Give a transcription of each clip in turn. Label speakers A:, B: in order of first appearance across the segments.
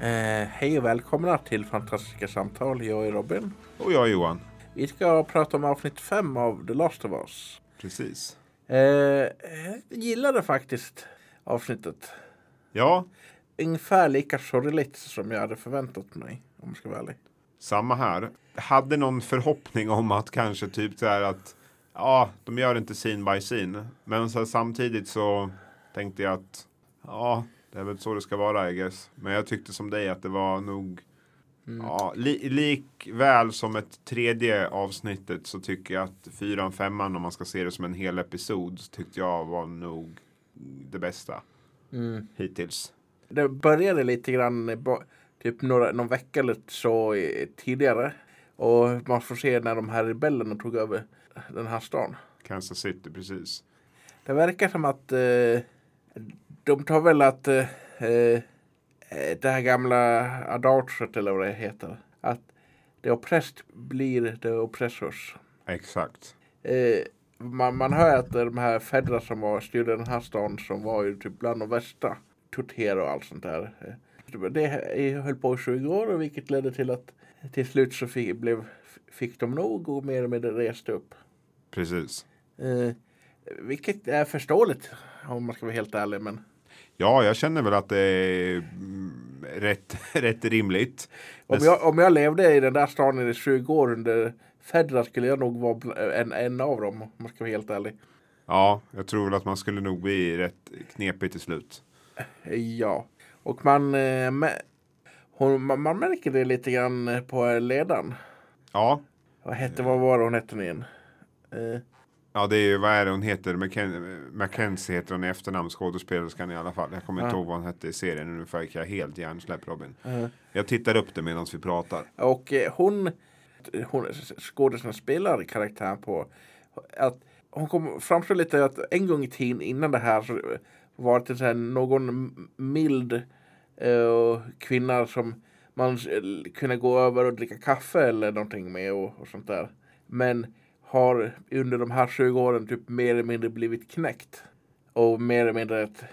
A: Eh, hej och välkomna till Fantastiska Samtal. Jag är Robin.
B: Och jag är Johan.
A: Vi ska prata om avsnitt 5 av The Last of Us.
B: Precis.
A: Eh, jag gillade faktiskt avsnittet.
B: Ja,
A: Ungefär lika sorgligt som jag hade förväntat mig. Om jag ska vara ärlig.
B: samma här. Hade någon förhoppning om att kanske typ så här att ja, de gör inte scene by scene. Men så här, samtidigt så tänkte jag att ja, det är väl så det ska vara I guess. Men jag tyckte som dig att det var nog Ja, li likväl som ett tredje avsnittet så tycker jag att fyran, femman om man ska se det som en hel episod så tyckte jag var nog det bästa Mm. hittills.
A: Det började lite grann i bo- typ några, någon vecka eller så i- tidigare. Och man får se när de här rebellerna tog över den här stan.
B: Kansas City, precis.
A: Det verkar som att eh, de tar väl att eh, eh, det här gamla adaget eller vad det heter. Att det oppressed blir det oppressors.
B: Exakt.
A: Eh, man, man hör att de här fäderna som var, styrde den här stan som var ju typ bland de värsta. Torter och allt sånt där. Eh, Det höll på i 20 år och vilket ledde till att till slut så fick, blev, fick de nog och mer och mer reste upp.
B: Precis.
A: Eh, vilket är förståeligt om man ska vara helt ärlig. Men
B: Ja, jag känner väl att det är mm, rätt, rätt rimligt.
A: om, jag, om jag levde i den där staden i 20 år under Fedra skulle jag nog vara bl- en, en av dem om man ska vara helt ärlig.
B: Ja, jag tror väl att man skulle nog bli rätt knepig till slut.
A: Eh, Ja, och man, eh, mä- hon, man, man märker det lite grann eh, på eh, ledaren.
B: Ja,
A: Vad hette, vad var det hon hette nu igen? Eh,
B: ja det är ju, vad är det hon heter? McKen- Mackenzie heter hon i efternamn, skådespelerskan i alla fall. Jag kommer inte
A: Ja.
B: ihåg vad hon hette i serien, nu fick jag helt hjärnsläpp Robin.
A: eh,
B: Jag tittar upp det medan vi pratar.
A: Och eh, hon, hon skådespelaren spelar karaktären på att hon kom fram till lite att en gång i tiden innan det här så var det så här någon m- mild eh, kvinna som man s- l- kunde gå över och dricka kaffe eller någonting med och, och sånt där. Men har under de här 20 åren typ mer eller mindre blivit knäckt. Och mer eller mindre att,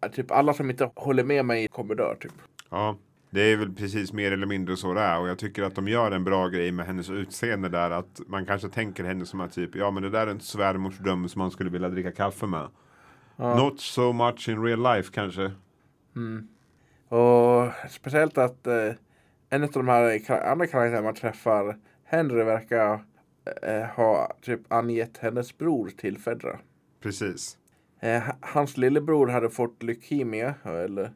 A: att typ alla som inte håller med mig kommer dö typ.
B: Ja, det är väl precis mer eller mindre så det är. Och jag tycker att de gör en bra grej med hennes utseende där. Att man kanske tänker henne som att typ, ja men det där är en svärmors dröm som man skulle vilja dricka kaffe med. Not so much in real life kanske.
A: Och speciellt att eh, en av de här kar- andra karaktärerna man träffar, Henry verkar eh, ha typ angett hennes bror till Fedra.
B: Precis.
A: Eh, h- hans lillebror hade fått leukemia eller,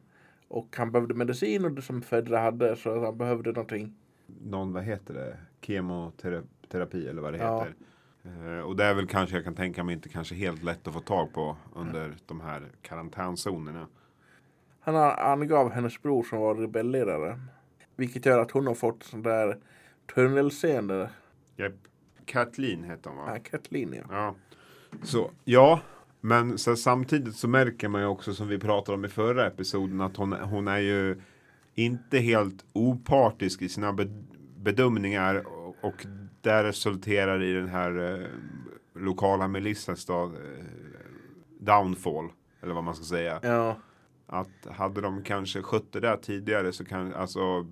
A: och han behövde medicin och det som Fedra hade så att han behövde någonting.
B: Någon, vad heter det? Kemoterapi eller vad det
A: Ja.
B: heter. Eh, Och det är väl kanske jag kan tänka mig inte kanske helt lätt att få tag på under de här karantänzonerna.
A: Han a- angav hennes bror som var rebellledare. Vilket gör att hon har fått sån där tunnelseende.
B: Japp. Kathleen heter hon va?
A: Ja. Kathleen ja.
B: Ja. Så, ja. Men så här, samtidigt så märker man ju också som vi pratade om i förra episoden att hon, hon är ju inte helt opartisk i sina bed- bedömningar och, och det resulterar i den här eh, lokala milissens då, eh, downfall. Eller vad man ska säga.
A: ja.
B: Att hade de kanske skött det där tidigare så kan alltså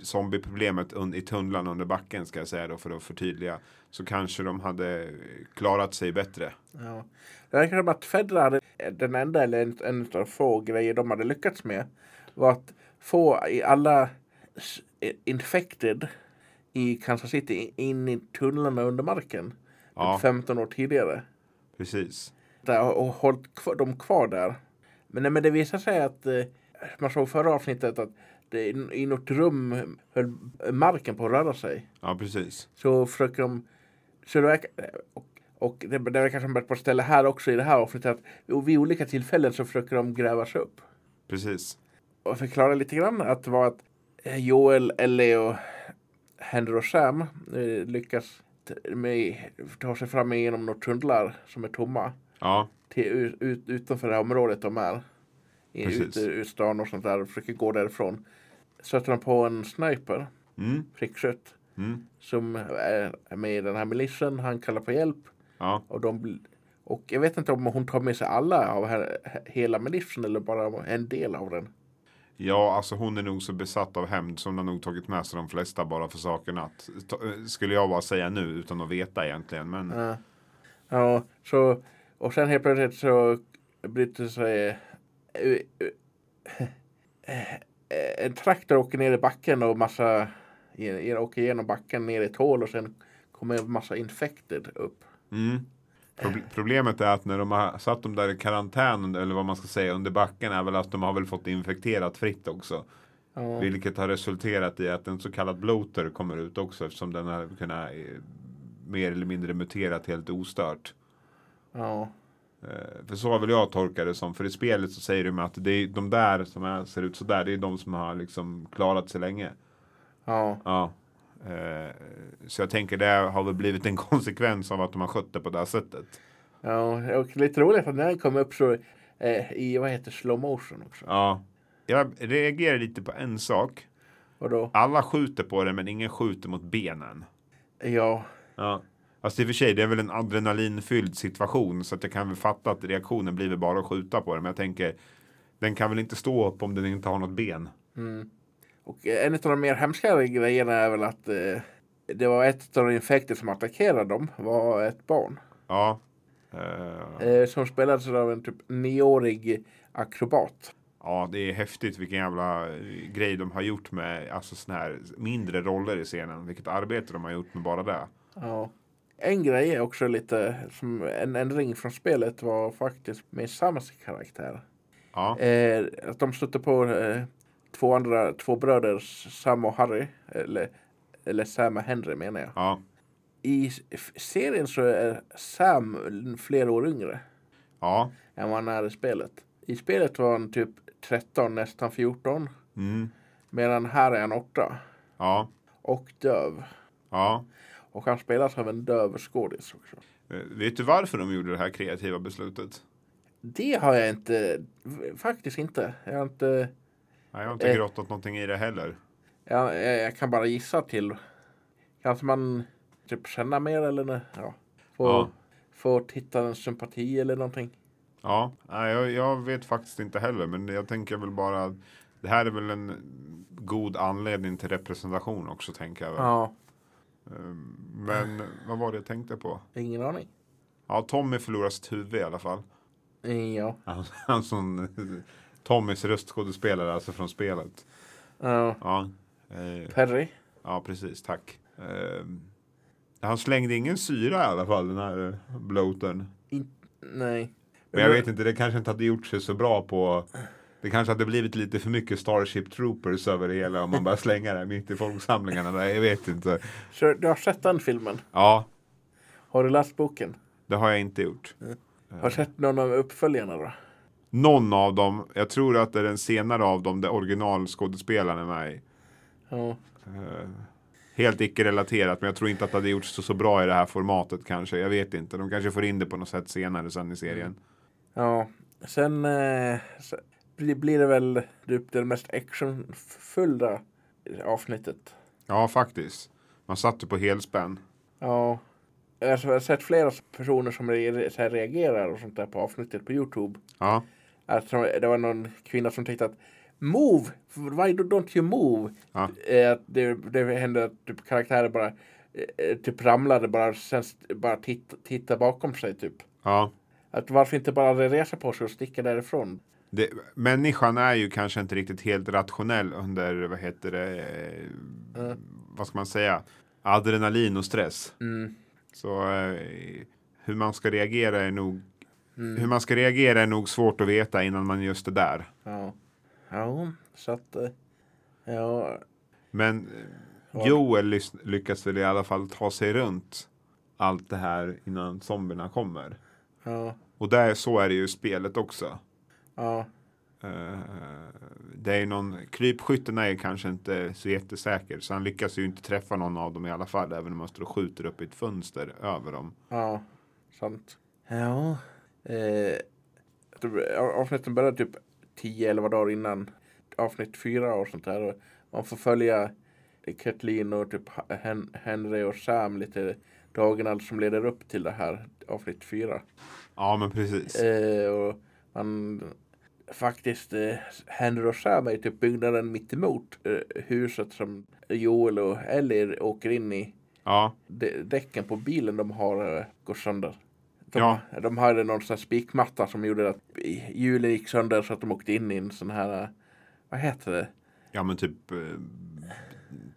B: zombieproblemet un- i tunnlan under backen ska jag säga då för att förtydliga så kanske de hade klarat sig bättre.
A: Ja. Det verkar som att Fedra hade eh, den enda eller en, en av de få grejer de hade lyckats med var att få i alla s- i- infected i Kansas City i- in i tunnlarna under marken
B: Ja,
A: 15 år tidigare.
B: precis.
A: Där, och och hållit kvar, dem kvar där. Men, nej, men det visar sig att eh, man såg förra avsnittet att det, i- i något rum höll marken på att röra sig.
B: Ja, precis.
A: Så försöker de... Så det verkar, och, och det, det verkar som att på ett ställe här också i det här avsnittet att vid olika tillfällen så försöker de gräva sig upp.
B: Precis.
A: Och förklara lite grann att det var att eh, Joel, Ellie och Henry och Sam eh, lyckas t- med, ta sig fram genom några tunnlar som är tomma
B: Ja,
A: till, ut, ut, utanför det här området de är. I-
B: Precis.
A: Ute ut stan och sånt där och försöker gå därifrån. Stöter de på en sniper,
B: mm,
A: prickskytt,
B: mm,
A: som är med i den här milissen. Han kallar på hjälp
B: ja,
A: och de bl- och jag vet inte om hon tar med sig alla av här, hela milissen eller bara en del av den.
B: Ja, alltså hon är nog så besatt av hämnd som hon har nog tagit med sig de flesta bara för saken att. ta- eh, Skulle jag bara säga nu utan att veta egentligen. Men
A: Ja. Ja, så, och sen helt plötsligt så bryter sig eh, eh, en traktor åker ner i backen och massa eh, åker igenom backen ner i ett hål och sen kommer en massa infected upp.
B: mm. Proble- Problemet är att när de har satt dem där i karantän eller vad man ska säga under backen är väl att de har väl fått infekterat fritt också.
A: Ja.
B: Vilket har resulterat i att en så kallad bloater kommer ut också eftersom den har kunnat eh, mer eller mindre muterat helt ostört.
A: Ja.
B: Eh, För så har väl jag tolkat det som. För i spelet så säger de att det är de där som är, ser ut sådär, det är de som har liksom klarat sig länge.
A: Ja.
B: Ja. Eh, Så jag tänker det har väl blivit en konsekvens av att de har skött det på det här sättet.
A: ja. Och lite roligt att när den kom upp så eh, i vad heter slow motion också.
B: Ja. Jag reagerar lite på en sak.
A: Och då,
B: Alla skjuter på den men ingen skjuter mot benen.
A: ja.
B: Ja. Fast i och för sig, det är väl en adrenalinfylld situation så att jag kan väl fatta att reaktionen blir väl bara att skjuta på den. Men jag tänker, den kan väl inte stå upp om den inte har något ben.
A: Mm. Och en av de mer hemska grejerna är väl att eh, det var ett av de infekter som attackerade dem var ett barn.
B: Ja. Eh,
A: Eh, som spelades av en typ nioårig akrobat.
B: ja, det är häftigt vilken jävla eh, grej de har gjort med alltså sån här mindre roller i scenen. Vilket arbete de har gjort med bara det.
A: Ja. En grej är också lite som en ändring från spelet var faktiskt med Sams karaktär.
B: Ja,
A: Eh, att de stötte på eh, två andra, två bröder, Sam och Harry. Eller, eller Sam och Henry menar jag.
B: ja,
A: I f- serien så är Sam flera år yngre.
B: ja.
A: än vad han är i spelet. I spelet var han typ 13, nästan 14.
B: Mm,
A: Medan här är han 8
B: ja,
A: och döv.
B: ja.
A: Och han spelas av en döv skådis också.
B: Eh, Vet du varför de gjorde det här kreativa beslutet?
A: Det har jag inte, faktiskt inte. Jag, har inte
B: Nej, jag har inte
A: Eh.
B: grottat någonting i det heller.
A: jag, jag, jag kan bara gissa till. Kanske man typ känner mer eller nå- ja. Få,
B: Ja.
A: få tittarens sympati eller någonting.
B: Ja, nej, jag, jag vet faktiskt inte heller, men jag tänker väl bara att det här är väl en god anledning till representation också tänker jag. väl.
A: Ja,
B: Ehm, Men vad var det jag tänkte på?
A: ingen aning.
B: Ja, Tommy förlorar sitt huvud i alla fall.
A: Ja,
B: Han, han som Tommys röstskådespelare alltså från spelet.
A: ja.
B: Ja, eh,
A: Perry.
B: ja precis, tack. Ehm, han slängde ingen syra i alla fall, den här eh, bloatern.
A: Nej.
B: Men jag vet inte, det kanske inte hade gjort sig så bra på... Det kanske hade blivit lite för mycket Starship Troopers över det hela om man bara slänger det mitt i folksamlingarna. Där, jag vet inte.
A: Så du har sett den filmen?
B: Ja,
A: Har du läst boken?
B: det har jag inte gjort.
A: Har du sett någon av uppföljarna då?
B: Någon av dem, jag tror att det är den senare av dem där originalskådespelaren är med i.
A: Ja.
B: Eh, Helt icke-relaterat, men jag tror inte att det hade gjorts så, så bra i det här formatet kanske. Jag vet inte, de kanske får in det på något sätt senare sen i serien.
A: ja. Sen eh, så blir, blir det väl typ det mest actionfyllda avsnittet.
B: Ja, faktiskt. Man satt ju på helspänn.
A: Ja. Alltså, jag har sett flera personer som re- så här reagerar och sånt där på avsnittet på Youtube.
B: Ja,
A: Alltså, det var någon kvinna som tyckte att Move! Why do- don't you move?
B: Ja.
A: Eh, Att det, det hände att typ karaktärer bara eh, eh, typ ramlade bara sen st- bara titta, titta bakom sig typ.
B: ja.
A: Att varför inte bara resa på sig och sticka därifrån?
B: Det, människan är ju kanske inte riktigt helt rationell under, vad heter det, eh,
A: Mm.
B: vad ska man säga, adrenalin och stress.
A: Mm.
B: Så eh, hur man ska reagera är nog
A: Mm.
B: Hur man ska reagera är nog svårt att veta innan man just är där.
A: Ja. Ja, så att... eh, Ja.
B: Men
A: Ja.
B: eh, Joel lys- lyckas väl i alla fall ta sig runt allt det här innan zombierna kommer.
A: Ja.
B: Och där, så är det ju i spelet också.
A: Ja.
B: Eh, det är ju någon, krypskytten är ju kanske inte så jättesäker så han lyckas ju inte träffa någon av dem i alla fall även om han står och skjuter upp i ett fönster över dem.
A: Ja. Sant. Ja. Eh, typ, a- avsnitten börjar typ 10-11 dagar innan avsnitt 4 och sånt där. Och Man får följa Kathleen och typ Hen- Henry och Sam lite dagarna som leder upp till det här avsnitt 4.
B: Ja men precis.
A: Eh, och man faktiskt eh, händer och skär mig, typ byggnaden mittemot eh, huset som Joel och Ellie åker in i.
B: Ja,
A: De, däcken på bilen de har eh, går sönder. De,
B: Ja.
A: de hade någon sån här spikmatta som gjorde att hjulen gick sönder så att de åkte in i en sån här, eh, vad heter det?
B: ja men typ eh,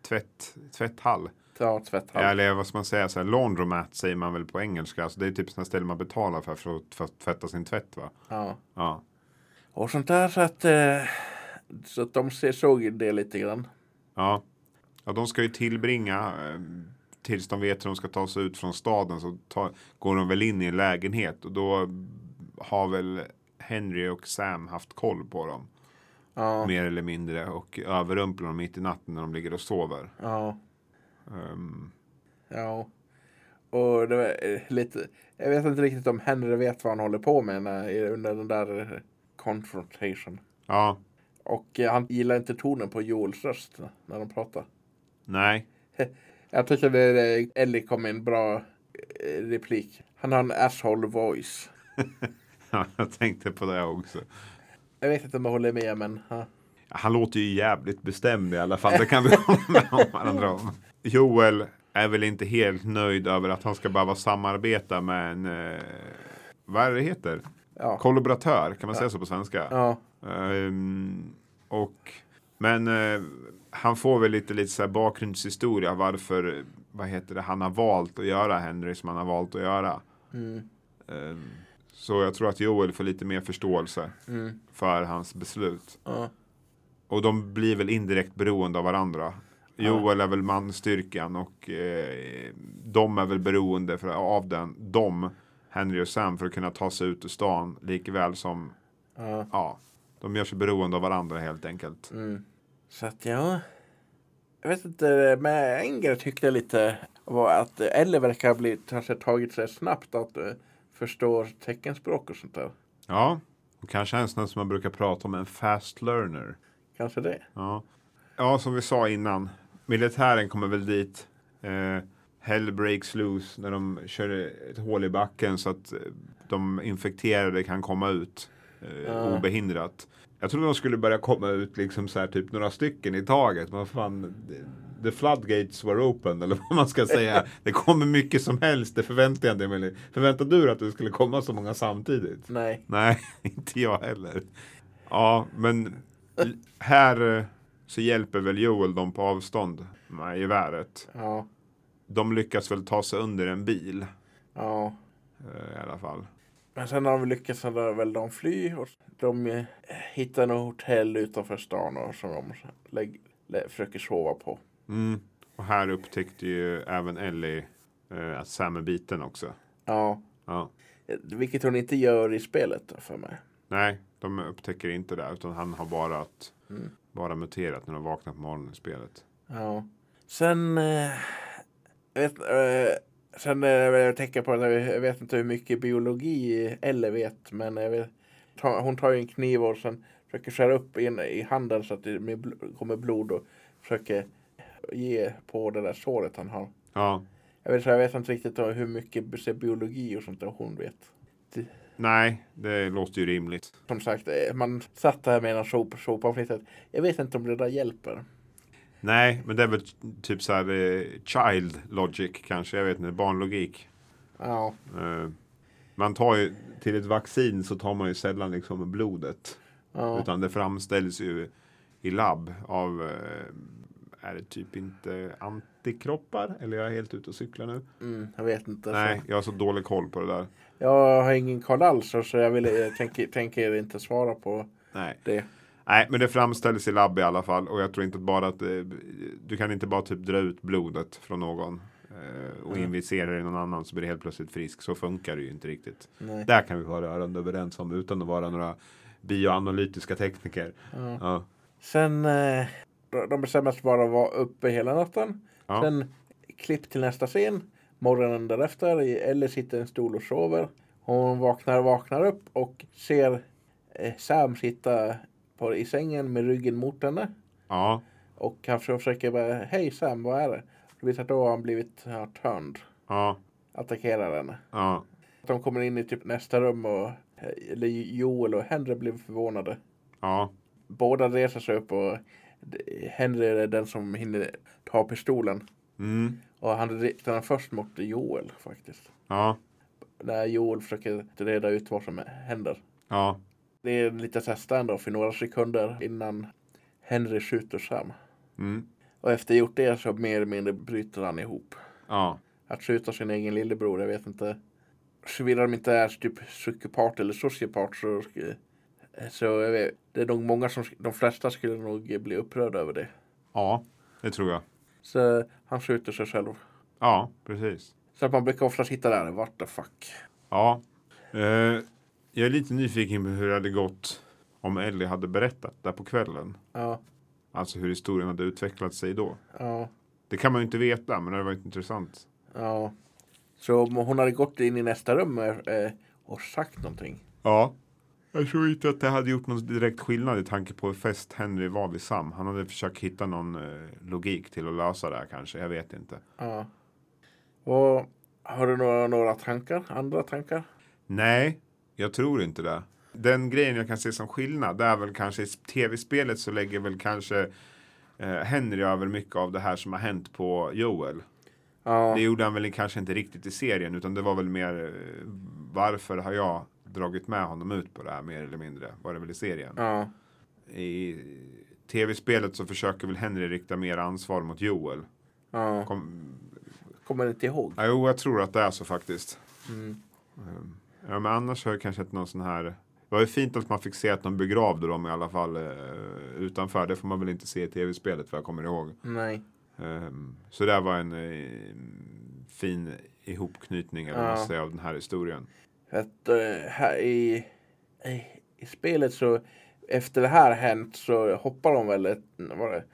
B: tvätt, tvätthall.
A: Ja, tvätthall.
B: Ja, eller vad ska man säga, så här, laundromat säger man väl på engelska. Alltså, det är typ sådana ställen man betalar för, för att, för att tvätta sin tvätt va?
A: Ja.
B: Ja,
A: Och sånt där så att, eh, så att de ser, såg ju det lite grann.
B: ja. ja de ska ju tillbringa eh, tills de vet hur de ska ta sig ut från staden så ta, går de väl in i en lägenhet och då har väl Henry och Sam haft koll på dem.
A: Ja,
B: Mer eller mindre och överrumplar dem mitt i natten när de ligger och sover.
A: ja,
B: Ehm,
A: ja. Och det var eh, lite, jag vet inte riktigt om Henry vet vad han håller på med när, under den där eh, confrontation.
B: ja,
A: Och eh, han gillar inte tonen på Joels röst när de pratar.
B: nej.
A: Jag tycker det eh, Ellie kom med en bra eh, replik. Han har en asshole voice.
B: Ja, jag tänkte på det också.
A: Jag vet inte om jag håller med men ja.
B: Han låter ju jävligt bestämd i alla fall. Det kan vi hålla med om varandra om. Joel är väl inte helt nöjd över att han ska behöva samarbeta med en, eh, vad är det heter?
A: Ja.
B: Kollaboratör, kan man säga så på svenska?
A: ja.
B: Ehm, och, men eh, han får väl lite, lite så här bakgrundshistoria varför vad heter det, han har valt att göra Henry som han har valt att göra.
A: Mm.
B: Ehm, så jag tror att Joel får lite mer förståelse
A: Mm.
B: för hans beslut.
A: Ja.
B: Och de blir väl indirekt beroende av varandra. Joel är väl manstyrkan och eh, de är väl beroende för, av den, de, Henry och Sam, för att kunna ta sig ut ur stan. Likväl som,
A: ja.
B: ja, de gör sig beroende av varandra helt enkelt.
A: Mm. Så att ja. Jag vet inte, men en grej tyckte jag lite var att eh, Ellie verkar ha blivit- kanske tagit sig snabbt att eh, förstå teckenspråk och sånt där.
B: Ja, och kanske en sån här som man brukar prata om, en fast learner.
A: Kanske det.
B: Ja, ja som vi sa innan, militären kommer väl dit. Eh, hell breaks loose när de kör ett hål i backen så att eh, de infekterade kan komma ut eh,
A: Ja.
B: obehindrat. Jag trodde de skulle börja komma ut liksom så här, typ några stycken i taget. Men fan, the floodgates were open eller vad man ska säga. Det kommer mycket som helst, det förväntar jag inte mig. Förväntade du dig att det skulle komma så många samtidigt?
A: Nej.
B: Nej, inte jag heller. Ja, men l- här eh, så hjälper väl Joel dem på avstånd med geväret.
A: Ja.
B: De lyckas väl ta sig under en bil
A: Ja.
B: eh, i alla fall.
A: Men sen har de lyckats så där väl de fly och de eh, hittar något hotell utanför stan och som de lägg, lä, försöker sova på.
B: Mm. Och här upptäckte ju även Ellie eh, att Sam är biten också.
A: Ja.
B: Ja.
A: Eh, Vilket hon inte gör i spelet för mig.
B: Nej, de upptäcker inte det utan han har bara, att,
A: Mm.
B: bara muterat när de vaknar på morgonen i spelet.
A: Ja. Sen... Eh, jag vet, eh, sen eh, jag tänker på det, jag vet inte hur mycket biologi eller vet, men jag vet, ta, hon tar ju en kniv och sen försöker skära upp i, en- i handen så att det med, bl- kommer blod och försöker ge på det där såret han har.
B: Ja.
A: Jag vet, så jag vet inte riktigt då hur mycket bi- så biologi och sånt där hon vet.
B: Nej, det låter ju rimligt.
A: Som sagt, eh, man satt där med en sop, sopavsnittet. Jag vet inte om det där hjälper.
B: Nej, men det är väl typ så här eh, child logic kanske. Jag vet inte, barnlogik.
A: Ja,
B: Eh, man tar ju till ett vaccin så tar man ju sällan liksom blodet.
A: ja,
B: Utan det framställs ju i labb av eh, är det typ inte antikroppar? Eller jag är helt ute och cyklar nu.
A: mm, jag vet inte. så-
B: Nej, jag har så dålig koll på det där.
A: Jag har ingen koll alls så jag vill, jag tänker, tänker inte svara på
B: Nej.
A: det.
B: Nej, men det framställs i labb i alla fall. Och jag tror inte bara att eh, du kan inte bara typ dra ut blodet från någon eh, och
A: Mm.
B: injicera det i någon annan så blir det helt plötsligt frisk. Så funkar det ju inte riktigt.
A: Nej.
B: Där kan vi vara rörande överens om utan att vara några bioanalytiska tekniker.
A: Ja.
B: Ja.
A: Sen, eh, de- de bestämmer sig bara att vara uppe hela natten.
B: Ja.
A: Sen klipp till nästa scen. Morgonen därefter, eller sitter i en stol och sover. Hon vaknar, vaknar upp och ser eh, Sam sitta på, i sängen med ryggen mot henne.
B: ja,
A: Och kanske försöker bara, hej Sam, vad är det? Du vet att då har han blivit ja, turned,
B: ja,
A: attackerar henne.
B: ja,
A: De kommer in i typ nästa rum och eller Joel och Henry blev förvånade.
B: Ja,
A: Båda reser sig upp och Henry är den som hinner ta pistolen.
B: mm.
A: Och han riktar den först mot Joel faktiskt.
B: ja,
A: När Joel försöker reda ut vad som händer.
B: ja,
A: Det är lite så här stand-off i några sekunder innan Henry skjuter Sam.
B: mm.
A: Och efter gjort det så mer eller mindre bryter han ihop.
B: ja,
A: Att skjuta sin egen lillebror, jag vet inte. Såvida de inte är typ psykopat eller sociopat så, sk- så jag vet, det är nog många som, de flesta skulle nog bli upprörda över det.
B: ja, det tror jag.
A: Så han skjuter sig själv.
B: Ja, precis.
A: Så att man brukar oftast hitta där, what the fuck.
B: Ja, eh, jag är lite nyfiken på hur det hade gått om Ellie hade berättat där på kvällen.
A: Ja,
B: Alltså hur historien hade utvecklat sig då.
A: ja,
B: Det kan man ju inte veta, men det hade varit intressant.
A: ja. Så om hon hade gått in i nästa rum eh, och sagt någonting.
B: Ja. Jag tror inte att det hade gjort någon direkt skillnad i tanke på hur fäst Henry var vid Sam. Han hade försökt hitta någon eh, logik till att lösa det här kanske. Jag vet inte.
A: Ja. Och har du några, några tankar? Andra tankar?
B: Nej, jag tror inte det. Den grejen jag kan se som skillnad det är väl kanske i tv-spelet så lägger väl kanske eh, Henry över mycket av det här som har hänt på Joel.
A: Ja,
B: Det gjorde han väl kanske inte riktigt i serien utan det var väl mer eh, varför har jag dragit med honom ut på det här mer eller mindre var det väl i serien.
A: ja,
B: I tv-spelet så försöker väl Henry rikta mer ansvar mot Joel.
A: ja.
B: Kom,
A: Kommer inte ihåg.
B: ja, jo, jag tror att det är så faktiskt.
A: Mm.
B: Ja, men annars har jag kanske inte någon sån här. Det var ju fint att man fick se att de begravde dem i alla fall eh, utanför. Det får man väl inte se i tv-spelet vad jag kommer ihåg.
A: Nej.
B: Ehm, så det var en eh, fin ihopknytning eller vad man
A: Ja.
B: säger, av den här historien.
A: Att, eh, här i, i, I spelet så efter det här hänt så hoppar de väl ett, vad är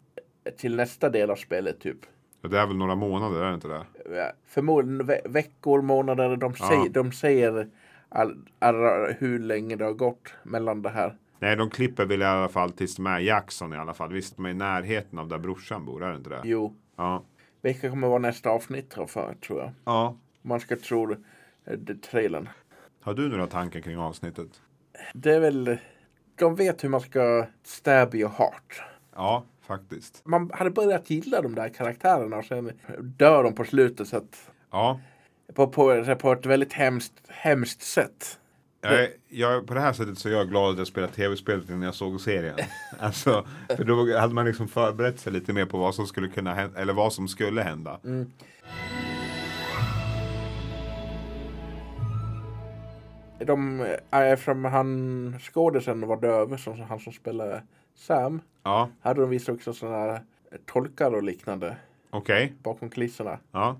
A: det, till nästa del av spelet typ.
B: Och det är väl några månader, är det inte det?
A: Ja, Förmodligen ve veckor, månader. De,
B: Ja.
A: säger- de säger all, all, hur länge det har gått mellan det här.
B: Nej, de klipper väl i alla fall tills de är i Jackson i alla fall. Visst, de är i närheten av där brorsan bor, är det inte det?
A: Jo,
B: Ja.
A: vilka kommer vara nästa avsnitt tror jag, tror jag.
B: ja.
A: Man ska tro eh, det- trailern.
B: Har du några tankar kring avsnittet?
A: Det är väl, de vet hur man ska stab your heart.
B: Ja, faktiskt.
A: man hade börjat gilla de där karaktärerna och sen dör de på slutet så att,
B: Ja,
A: på, på, på ett väldigt hemskt, hemskt sätt.
B: Jag, är- jag, på det här sättet så är jag glad att jag spelade tv-spelet innan jag såg serien. Alltså, för då hade man liksom förberett sig lite mer på vad som skulle kunna hända, eller vad som skulle hända.
A: De, eh, eftersom han skådisen var döv, som han som spelade Sam,
B: Ja,
A: hade de visst också sådana här tolkar och liknande
B: okej.
A: bakom kulisserna.
B: Ja.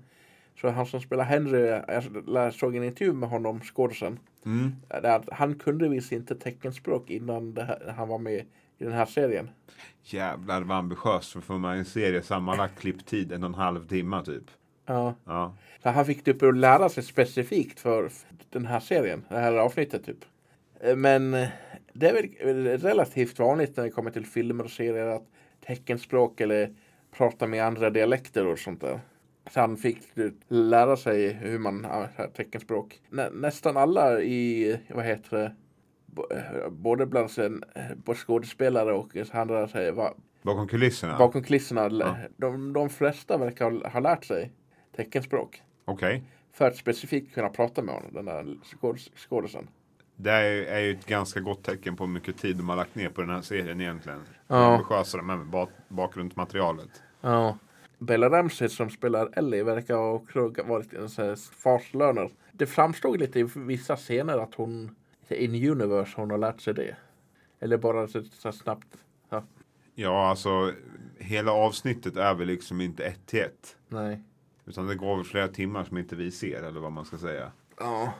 A: Så han som spelar Henry, jag lä- såg en intervju med honom, skådisen,
B: Mm.
A: där att han kunde visst inte teckenspråk innan det här, han var med i den här serien.
B: Jävlar vad ambitiöst för får man en serie sammanlagt klipptid en och en halv timme typ.
A: Ja.
B: Ja,
A: Så han fick typ att lära sig specifikt för den här serien, det här avsnittet typ. Eh, Men eh, det är väl relativt vanligt när det kommer till filmer och serier att teckenspråk eller prata med andra dialekter och sånt där. Så han fick du, lära sig hur man använder teckenspråk. Nä, nästan alla i, vad heter det, bo- eh, både bland sen, eh, både skådespelare och andra säger, va,
B: bakom kulisserna.
A: bakom kulisserna, lä-
B: Ja.
A: de, de flesta verkar ha, ha lärt sig teckenspråk
B: Okej.
A: för att specifikt kunna prata med honom, den där skåd- skådisen.
B: Det är ju, är ju ett ganska gott tecken på hur mycket tid de har lagt ner på den här serien egentligen. Hur
A: Ja.
B: ambitiösa de är med bak- bakgrundsmaterialet.
A: Ja. Bella Ramsey som spelar Ellie verkar ha också varit en sån här farslöner. Det framstod lite i vissa scener att hon in universe hon har lärt sig det. Eller bara så, så här snabbt. Ja,
B: Ja, alltså hela avsnittet är väl liksom inte ett till ett.
A: nej.
B: Utan det går väl flera timmar som inte vi ser eller vad man ska säga.
A: Ja.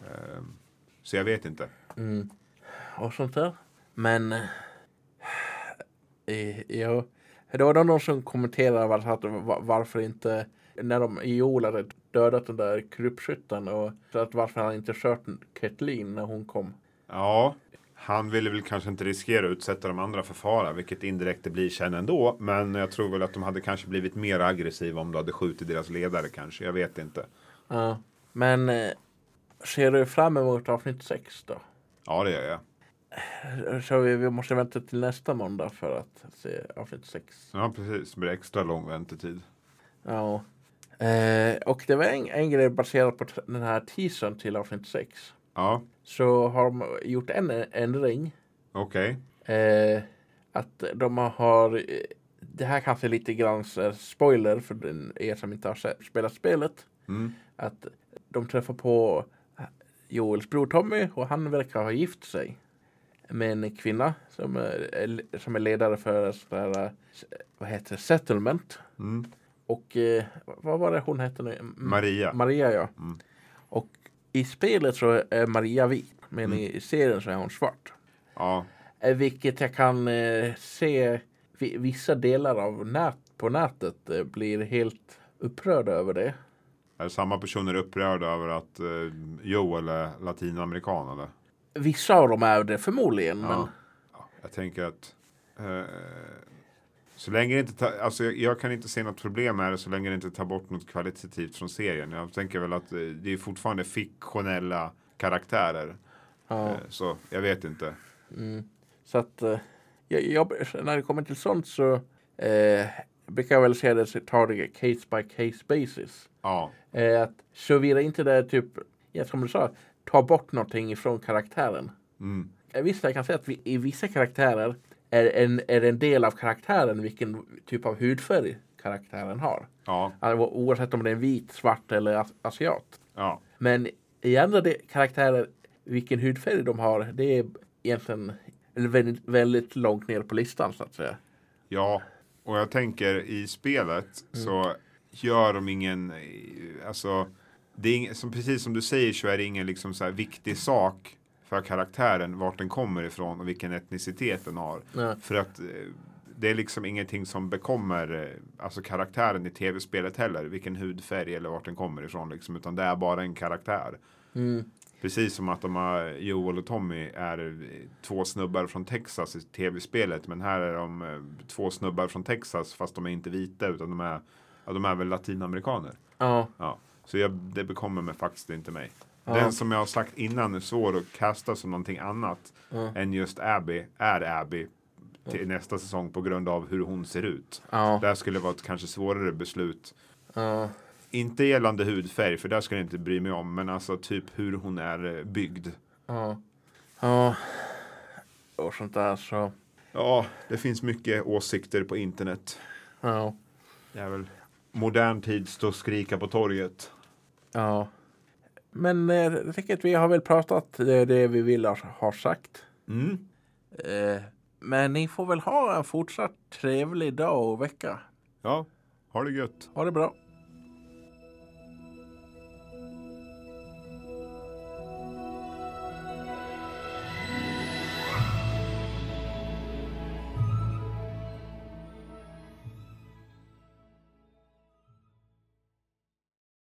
B: Ehm, Så jag vet inte.
A: Mm. Och sånt där. Men... Eh, ja. Det var då någon som kommenterade var- att va- varför inte... När de i Joel hade dödat den där krypskytten och så att varför han inte kört Kathleen när hon kom.
B: Ja, han ville väl kanske inte riskera att utsätta de andra för fara, vilket indirekt det blir sen ändå. Men jag tror väl att de hade kanske blivit mer aggressiva om du hade skjutit deras ledare kanske. Jag vet inte.
A: Ja. Men eh, ser du fram emot avsnitt 6 då?
B: Ja, det gör jag.
A: Så vi, vi måste vänta till nästa måndag för att se avsnitt 6.
B: Ja, precis. Det blir extra lång väntetid.
A: Ja. Eh, och det var en, en grej baserat på t- den här teasern till avsnitt 6.
B: Ja,
A: Så har de gjort en ändring.
B: okej.
A: Eh, att de har... eh, Det här kanske är lite grann så här spoiler för den- er som inte har se- spelat spelet.
B: Mm.
A: Att de träffar på Joels bror Tommy och han verkar ha gift sig med en kvinna som är, som är ledare för ett sånt här, eh, vad heter det, settlement.
B: Mm.
A: Och eh, vad var det hon hette nu? M-
B: Maria.
A: Maria ja.
B: Mm.
A: Och i spelet så är Maria vit, men
B: Mm.
A: i serien så är hon svart.
B: Ja,
A: Eh, Vilket jag kan eh, se vi- vissa delar av nät, på nätet eh, blir helt upprörda över det.
B: är samma personer upprörda över att eh, Joel är latinamerikan eller?
A: Vissa av dem är det förmodligen, men
B: Ja. Ja, jag tänker att eh, så länge det inte ta, alltså jag, jag kan inte se något problem med det så länge det inte tar bort något kvalitativt från serien. Jag tänker väl att eh, det är fortfarande fiktionella karaktärer.
A: ja.
B: Eh, så jag vet inte.
A: Mm. Så att eh, jag, jag, när det kommer till sånt så eh, brukar jag väl säga det, så tar det case by case basis.
B: Ja,
A: Eh, att såvida inte det är typ, ja, som du sa, ta bort någonting ifrån karaktären.
B: mm,
A: Eh, Visst, jag kan säga att vi, i vissa karaktärer är en, är en del av karaktären vilken typ av hudfärg karaktären har.
B: ja,
A: Alltså, o- Oavsett om det är en vit, svart eller as- asiat.
B: ja,
A: Men i andra de- karaktärer, vilken hudfärg de har, det är egentligen väldigt, väldigt långt ner på listan så att säga.
B: ja. Och jag tänker i spelet så gör de ingen, eh, alltså det är ing, som, precis som du säger så är det ingen liksom så här viktig sak för karaktären vart den kommer ifrån och vilken etnicitet den har.
A: Ja.
B: För att eh, det är liksom ingenting som bekommer eh, alltså karaktären i tv-spelet heller. Vilken hudfärg eller vart den kommer ifrån. Liksom, utan det är bara en karaktär.
A: Mm.
B: Precis som att de har, Joel och Tommy är eh, två snubbar från Texas i tv-spelet. Men här är de eh, två snubbar från Texas fast de är inte vita utan de är, ja, de är väl latinamerikaner.
A: Ja,
B: Ja. Så jag, det bekommer mig faktiskt inte mig.
A: Ja.
B: Den som jag har sagt innan är svår att kasta som någonting annat
A: Ja.
B: än just Abby är Abby till nästa säsong på grund av hur hon ser ut.
A: ja,
B: Det här skulle vara ett kanske svårare beslut.
A: ja.
B: Inte gällande hudfärg, för där skulle jag inte bry mig om, men alltså typ hur hon är eh, byggd.
A: ja, ja. Och sånt där så.
B: Ja, det finns mycket åsikter på internet.
A: Ja,
B: Det är väl modern tid stå och skrika på torget.
A: ja. Men eh, jag tycker att vi har väl pratat det, det vi vill ha, ha sagt.
B: Mm.
A: Eh, men ni får väl ha en fortsatt trevlig dag och vecka.
B: Ja, ha det gött.
A: Ha det bra.